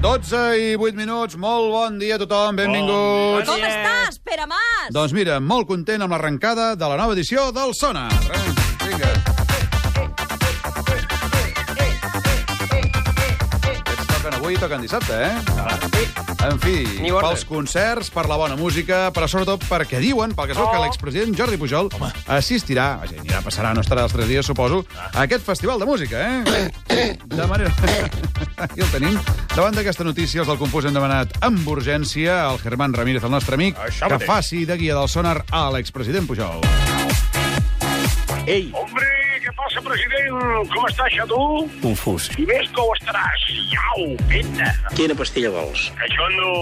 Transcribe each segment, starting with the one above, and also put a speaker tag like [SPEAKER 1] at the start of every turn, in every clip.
[SPEAKER 1] 12 i 8 minuts, molt bon dia a tothom, benvinguts.
[SPEAKER 2] Com estàs, Pere Mas?
[SPEAKER 1] Doncs mira, molt content amb l'arrencada de la nova edició del Sonar. Eh, Vinga. Aquests toquen avui i toquen dissabte, eh? En fi,
[SPEAKER 3] New Order.
[SPEAKER 1] pels concerts, per la bona música, però sobretot perquè diuen, pel que es veu,
[SPEAKER 4] Oh.
[SPEAKER 1] que l'expresident Jordi Pujol assistirà, vaja, anirà, passarà, no estarà els tres dies, suposo, a aquest festival de música, eh? De manera... Aquí el tenim. Davant d'aquesta notícia, els del Confús hem demanat amb urgència al Germán Ramírez, el nostre amic,
[SPEAKER 4] Això
[SPEAKER 1] que
[SPEAKER 4] mateix.
[SPEAKER 1] faci de guia del sonar a l'expresident Pujol.
[SPEAKER 4] Ei,
[SPEAKER 5] Hombre, què passa, president? Com està això, tu?
[SPEAKER 4] confús.
[SPEAKER 5] I més que ho estaràs. Iau, peta.
[SPEAKER 4] Quina pastilla vols?
[SPEAKER 5] Cachondo,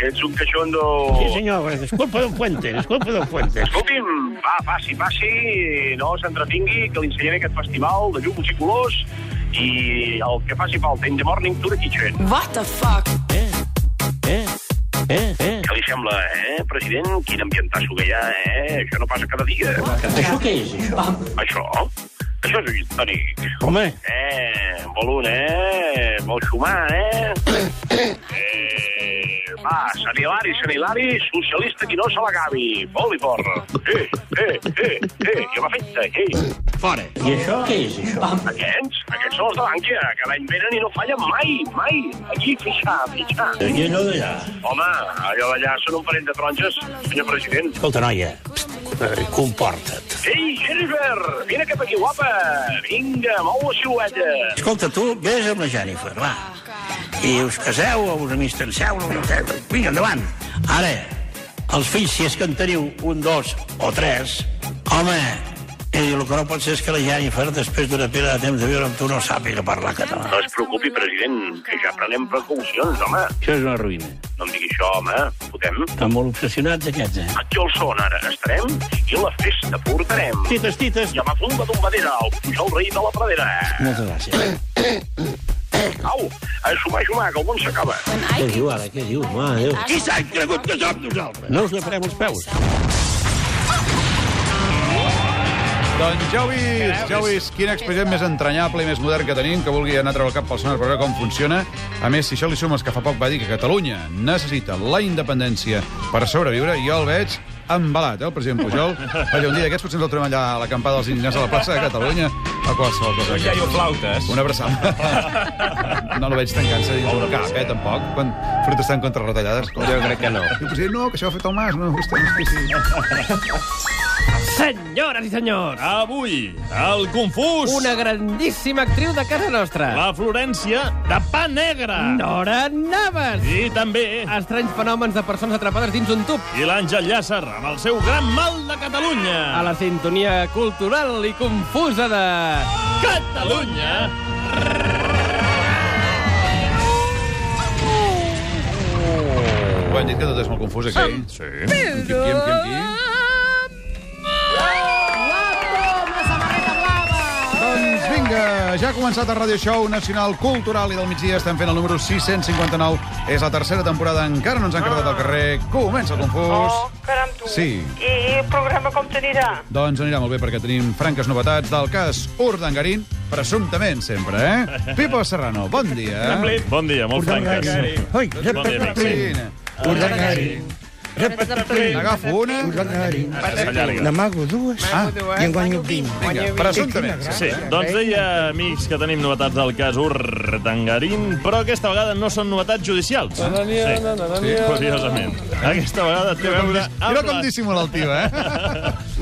[SPEAKER 5] que ets un cachondo.
[SPEAKER 3] Sí, senyor, és culpa d'un puente, és culpa d'un puente.
[SPEAKER 5] Escolti'm, va, passi, passi, no s'entretingui, que li ensenyaré aquest festival de llums i colors i el que faci falta, in the morning to the kitchen.
[SPEAKER 6] What the fuck?
[SPEAKER 3] Eh, eh, eh, eh.
[SPEAKER 5] Què li sembla, eh, president? Quin ambientasso que hi ha, eh? Això no passa cada dia.
[SPEAKER 3] Això què és, això?
[SPEAKER 5] Això? Això és un tònic.
[SPEAKER 3] Home,
[SPEAKER 5] Eh, vol un, eh? Vol sumar, eh? eh va, Sant Hilari, Sant Hilari, socialista qui no se l'acabi. Vol i porra. Eh, eh, eh, eh, ja m'ha fet, eh.
[SPEAKER 4] Fora.
[SPEAKER 3] i això què és, això?
[SPEAKER 5] Aquests, aquests són els de Bànquia, que l'any venen i no fallen mai, mai. Aquí, fixar, fixar.
[SPEAKER 3] I allò d'allà.
[SPEAKER 5] Home, allò d'allà són un parell de taronges, senyor president.
[SPEAKER 3] Escolta, noia, pst, eh, comporta't.
[SPEAKER 5] Ei, Jennifer, vine cap aquí, guapa. Vinga, mou la silueta.
[SPEAKER 3] Escolta, tu, vés amb la Jennifer, va. I us caseu, o us amistanceu, o... vinga, endavant. Ara, els fills, si és que en teniu un, dos o tres, home, i el que no pot ser és que la Jennifer, després d'una pila de temps de viure amb tu, no sàpiga parlar català.
[SPEAKER 5] No es preocupi, president, que ja prenem precaucions, home.
[SPEAKER 3] Això és una ruïna.
[SPEAKER 5] No em digui això, home. Podem?
[SPEAKER 3] Estan molt obsessionats, aquests, eh?
[SPEAKER 5] Aquí al son ara estarem i la festa portarem.
[SPEAKER 3] Tites, tites.
[SPEAKER 5] I amb la funda d'un vedera, el pujol rei de la pradera.
[SPEAKER 3] Moltes gràcies.
[SPEAKER 5] Au, a sumar, sumar, que el món s'acaba.
[SPEAKER 3] Què diu ara? Què eh, diu? Mà, Déu.
[SPEAKER 5] Qui s'ha cregut que som nosaltres?
[SPEAKER 3] No us llevarem els peus.
[SPEAKER 1] Doncs ja ho vist, ja ho vist. Quin expedient més entranyable i més modern que tenim, que vulgui anar a treure el cap pel sonar per veure com funciona. A més, si això li sumes que fa poc va dir que Catalunya necessita la independència per sobreviure, jo el veig embalat, eh, el president Pujol. Allà un dia d'aquests potser ens el trobem allà a l'acampada dels indignats a la plaça de Catalunya o qualsevol cosa.
[SPEAKER 4] Ja hi ho
[SPEAKER 1] d'aquestes.
[SPEAKER 4] flautes.
[SPEAKER 1] Una abraçada. No el veig tancant-se dins d'un cap, eh, tampoc, quan protestant contra retallades.
[SPEAKER 4] Jo crec que no.
[SPEAKER 1] Diu, president, no, que això ho ha fet el Mas. No, hosti, hosti, sí.
[SPEAKER 7] Senyores i senyors,
[SPEAKER 4] Avui, el confús.
[SPEAKER 7] una grandíssima actriu de casa nostra,
[SPEAKER 4] La Florència de pa negre.
[SPEAKER 7] Nora Naves.
[SPEAKER 4] I també...
[SPEAKER 7] Estranys fenòmens de persones atrapades dins un tub.
[SPEAKER 4] I l'Àngel Llàcer, amb el seu gran mal de Catalunya.
[SPEAKER 7] A la sintonia cultural i confusa de...
[SPEAKER 4] Catalunya.
[SPEAKER 1] Ho hem dit que tot és molt confús, aquí. Sí. Quim, quim, quim, quim. Doncs vinga, ja ha començat el Radio Show Nacional Cultural i del migdia estem fent el número 659. És la tercera temporada, encara no ens han quedat al carrer. Comença el confús.
[SPEAKER 8] Oh, caram, tu.
[SPEAKER 1] Sí.
[SPEAKER 8] I el programa com t'anirà?
[SPEAKER 1] Doncs anirà molt bé perquè tenim franques novetats del cas Urdangarín, presumptament sempre, eh? Pipo Serrano, bon dia.
[SPEAKER 4] Bon dia, molt franques.
[SPEAKER 3] Ai,
[SPEAKER 4] Bon dia, amics.
[SPEAKER 1] Urdangarín.
[SPEAKER 3] Urdangarín.
[SPEAKER 1] Agafo una.
[SPEAKER 3] Urdangarín.
[SPEAKER 4] S'allarga.
[SPEAKER 3] N'amago dues ah. i en guanyo vint.
[SPEAKER 1] Vinga, presumptament.
[SPEAKER 4] Sí, doncs deia, amics, que tenim novetats del cas Urdangarín, però aquesta vegada no són novetats judicials. Sí, sí, curiosament. Aquesta vegada té a veure amb
[SPEAKER 1] Mira com
[SPEAKER 4] les...
[SPEAKER 1] dissimula el tio, eh?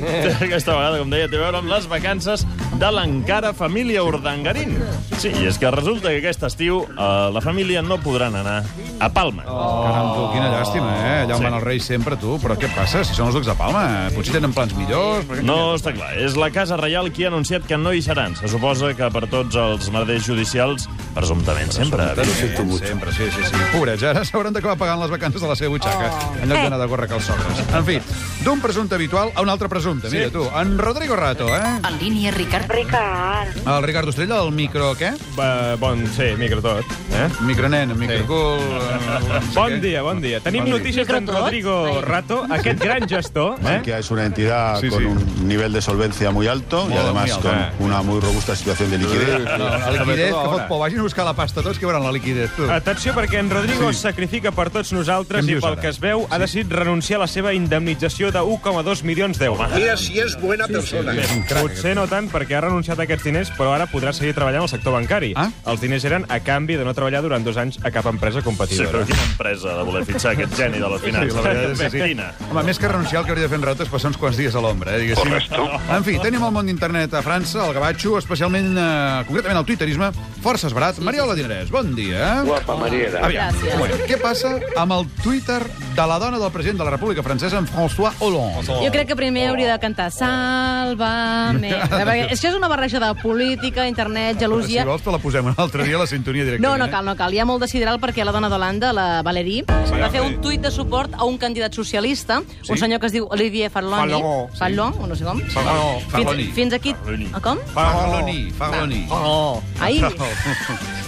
[SPEAKER 4] Aquesta vegada, com deia, té a veure amb les vacances de l'encara família Urdangarín. Sí, i és que resulta que aquest estiu eh, la família no podran anar a Palma.
[SPEAKER 9] Oh,
[SPEAKER 1] Caram, tu, Oh, quina llàstima, eh? Allà on
[SPEAKER 4] Sí.
[SPEAKER 1] van els reis sempre, tu. Però què passa? Si són els ducs de Palma, eh? potser tenen plans millors. Perquè...
[SPEAKER 4] No està clar. És la Casa Reial qui ha anunciat que no hi seran. Se suposa que per tots els merders judicials, presumptament, sempre.
[SPEAKER 1] Sempre, sempre, sí, sí, sí. Pobrets, ara s'hauran d'acabar pagant les vacances de la seva butxaca, en lloc d'anar de gorra que els sogres. En fi, d'un presumpte habitual a un altre presumpte. Mira tu, en Rodrigo Rato, eh?
[SPEAKER 6] En línia, Ricard.
[SPEAKER 8] Ricard.
[SPEAKER 1] El Ricard Ostrella, el micro, què?
[SPEAKER 9] Uh, bon, sí, micro tot. Eh?
[SPEAKER 1] Micronen, microcul... eh, no sé
[SPEAKER 9] Bon
[SPEAKER 1] què.
[SPEAKER 9] dia, bon dia. Tenim
[SPEAKER 1] Bon dia.
[SPEAKER 9] notícies d'en
[SPEAKER 6] Micro tot?
[SPEAKER 9] Rodrigo Rato, aquest gran gestor. Eh?
[SPEAKER 10] que es una entidad
[SPEAKER 1] Sí,
[SPEAKER 10] con
[SPEAKER 1] sí.
[SPEAKER 10] un nivel de solvencia muy alto
[SPEAKER 1] Muy,
[SPEAKER 10] y además
[SPEAKER 1] muy alto. Eh.
[SPEAKER 10] con una muy robusta situación de liquidez.
[SPEAKER 1] No, la liquidez, que fot por. Vagin a buscar la pasta tots que veuran la liquidez, tu.
[SPEAKER 9] Atenció, perquè en Rodrigo
[SPEAKER 1] Sí.
[SPEAKER 9] es sacrifica per tots
[SPEAKER 1] Què
[SPEAKER 9] nosaltres
[SPEAKER 1] em
[SPEAKER 9] i
[SPEAKER 1] dius
[SPEAKER 9] pel
[SPEAKER 1] ara?
[SPEAKER 9] que es veu ha decidit renunciar a la seva indemnització de 1,2 milions d'euros.
[SPEAKER 5] Mira si és bona persona.
[SPEAKER 1] És un crac,
[SPEAKER 9] Potser no tant perquè ha renunciat a aquests diners, però ara podrà seguir treballant al sector bancari.
[SPEAKER 1] Ah.
[SPEAKER 9] Els diners eren a canvi de no treballar durant dos anys a cap empresa
[SPEAKER 4] Sí, però
[SPEAKER 9] competidora.
[SPEAKER 4] quina empresa de voler fitxar aquest geni de les finances?
[SPEAKER 1] la veritat és que sí.
[SPEAKER 4] Quina?
[SPEAKER 1] Home, més que renunciar, el que hauria de fer en Rato és passar uns quants dies a l'ombra, eh, diguéssim. En fi, tenim el món d'internet a França, al Gavatxo, especialment, eh, concretament al tuiterisme, forces barat. Mariola Dinerès, bon dia.
[SPEAKER 5] Guapa, Mariela.
[SPEAKER 1] Aviam,
[SPEAKER 2] Gràcies.
[SPEAKER 1] bueno, què passa amb el Twitter de la dona del president de la República Francesa, en François Hollande?
[SPEAKER 2] Jo crec que primer hauria de cantar Salva-me. Perquè és que és una barreja de política, internet,
[SPEAKER 1] Si
[SPEAKER 2] gelosia...
[SPEAKER 1] vols, te la posem un altre dia a la sintonia
[SPEAKER 2] No,
[SPEAKER 1] directament.
[SPEAKER 2] no
[SPEAKER 1] eh?
[SPEAKER 2] cal, no cal. Hi ha molt de sideral perquè la dona d'Holanda, la Valérie, va fer un tuit de suport a un candidat socialista, un senyor que es diu Olivier Farloni.
[SPEAKER 9] Farlon, sí.
[SPEAKER 2] Farlon, o no sé com.
[SPEAKER 1] Farloni.
[SPEAKER 2] Fins, fins aquí...
[SPEAKER 4] Farloni.
[SPEAKER 2] A com?
[SPEAKER 1] Farloni, Farloni.
[SPEAKER 2] Ai,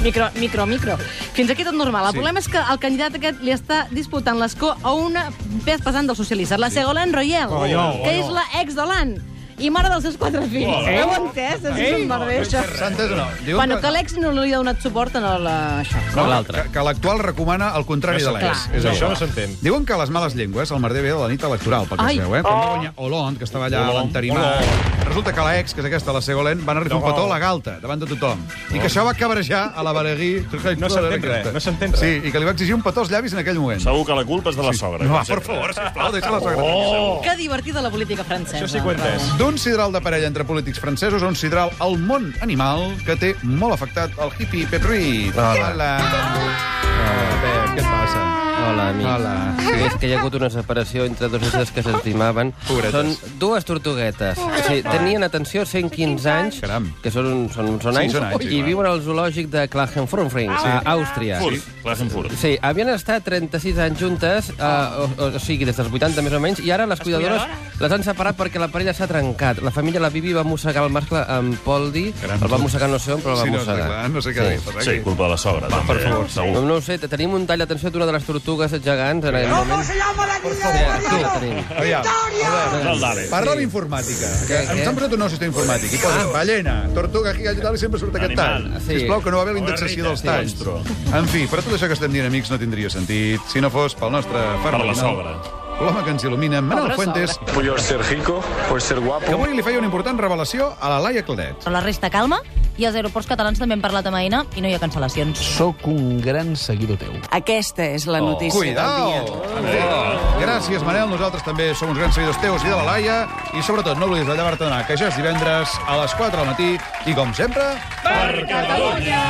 [SPEAKER 2] micro, micro, micro. Fins aquí tot normal. El
[SPEAKER 1] Sí.
[SPEAKER 2] sí. problema és que el candidat aquest li està disputant l'escó a una pes pesant dels socialistes, la Ségolène Royal,
[SPEAKER 9] Oh,
[SPEAKER 2] que és la ex d'Holand i mare dels seus quatre fills.
[SPEAKER 9] Oh.
[SPEAKER 2] Heu entès? És un merder, això.
[SPEAKER 1] Santes o no? Diuen
[SPEAKER 2] Bueno, que l'ex no li ha donat suport en el, eh, això.
[SPEAKER 1] No, que- que l'actual recomana el contrari de l'ex.
[SPEAKER 2] Clar.
[SPEAKER 1] És
[SPEAKER 9] Això
[SPEAKER 1] això.
[SPEAKER 9] no s'entén.
[SPEAKER 1] Diuen que les males llengües, el merder ve de la nit electoral, pel que es
[SPEAKER 2] Ai.
[SPEAKER 1] veu, eh? Quan va
[SPEAKER 9] Oh.
[SPEAKER 1] guanyar Hollande, que estava allà a l'entarimat. Resulta que l'ex, que és aquesta, la Segolent, van arribar no. un petó a la galta, davant de tothom. I que això va cabrejar a la Valegui.
[SPEAKER 9] Oh. No s'entén res, no s'entén res.
[SPEAKER 1] Sí, i que li va exigir un petó als llavis en aquell moment.
[SPEAKER 4] Segur que la culpa és de la sogra.
[SPEAKER 1] No,
[SPEAKER 4] com
[SPEAKER 1] per
[SPEAKER 4] sempre.
[SPEAKER 1] favor, sisplau, deixa la sogra. Oh.
[SPEAKER 2] Que divertida la política francesa.
[SPEAKER 9] Això sí que ho he entès.
[SPEAKER 1] D'un sidral de parella entre polítics francesos a un sidral al món animal que té molt afectat el hippie Pep Ruiz. Hola. Hola. Pep, què et passa?
[SPEAKER 7] Hola, amics.
[SPEAKER 1] Hola.
[SPEAKER 7] Sí. És que hi ha hagut una separació entre dos éssers que s'estimaven.
[SPEAKER 1] Pobretes.
[SPEAKER 7] Són dues tortuguetes. O sigui, tenien, atenció, 115 anys,
[SPEAKER 1] Caram.
[SPEAKER 7] que són, un- són, són
[SPEAKER 1] Sí,
[SPEAKER 7] anys,
[SPEAKER 1] són anys, sí,
[SPEAKER 7] i
[SPEAKER 1] clar.
[SPEAKER 7] viuen al zoològic de Klagenfurt, a Àustria.
[SPEAKER 4] Furt, Klagenfurt.
[SPEAKER 7] Sí, havien estat 36 anys juntes, eh, o, o, o sigui, des dels 80 més o menys, i ara les cuidadores les han separat perquè la parella s'ha trencat. La família, la Vivi, va mossegar el mascle amb Poldi,
[SPEAKER 1] Gran
[SPEAKER 7] el va mossegar no sé on, però el va
[SPEAKER 1] Sí, no, està
[SPEAKER 7] mossegar.
[SPEAKER 1] clar, no sé què dir, per
[SPEAKER 4] Sí,
[SPEAKER 1] aquí.
[SPEAKER 4] culpa de la sogra, també. Per favor.
[SPEAKER 7] No,
[SPEAKER 4] Segur.
[SPEAKER 7] no ho sé, te- tenim un tall d'atenció d'una de les tortugues gegants en aquest moment. Com se llama la niña de la tenim.
[SPEAKER 1] Aviam,
[SPEAKER 4] No el dades.
[SPEAKER 1] parla d'informàtica. que
[SPEAKER 7] Què,
[SPEAKER 1] Ens
[SPEAKER 7] què?
[SPEAKER 1] han posat un nou sistema informàtic. I posen ballena, tortuga, gigant i tal, i sempre surt aquest tall.
[SPEAKER 4] Ah. Animal.
[SPEAKER 7] Sí.
[SPEAKER 1] Sisplau, que no va haver la indexació dels talls.
[SPEAKER 4] monstro.
[SPEAKER 1] En fi, però tot això que estem dient, amics, no tindria sentit si no fos pel nostre far
[SPEAKER 4] Per la
[SPEAKER 1] matinal,
[SPEAKER 4] sogra.
[SPEAKER 1] L'home que ens il·lumina, Manel
[SPEAKER 2] Pobre
[SPEAKER 1] Fuentes,
[SPEAKER 10] Puedo ser rico, puedo ser guapo.
[SPEAKER 1] que avui li feia una important revelació a la Laia Claret.
[SPEAKER 6] La resta calma i els aeroports catalans també han parlat amb Aena i no hi ha cancel·lacions.
[SPEAKER 11] Soc un gran seguidor teu.
[SPEAKER 12] Aquesta és la notícia del
[SPEAKER 1] Cuidao!
[SPEAKER 12] dia.
[SPEAKER 1] En fi, Gràcies, Manel. Nosaltres també som uns grans seguidors teus i de la Laia. I sobretot, no oblidis de llevar-te d'anar, que ja és divendres a les 4 del matí. I com sempre,
[SPEAKER 4] Per Catalunya!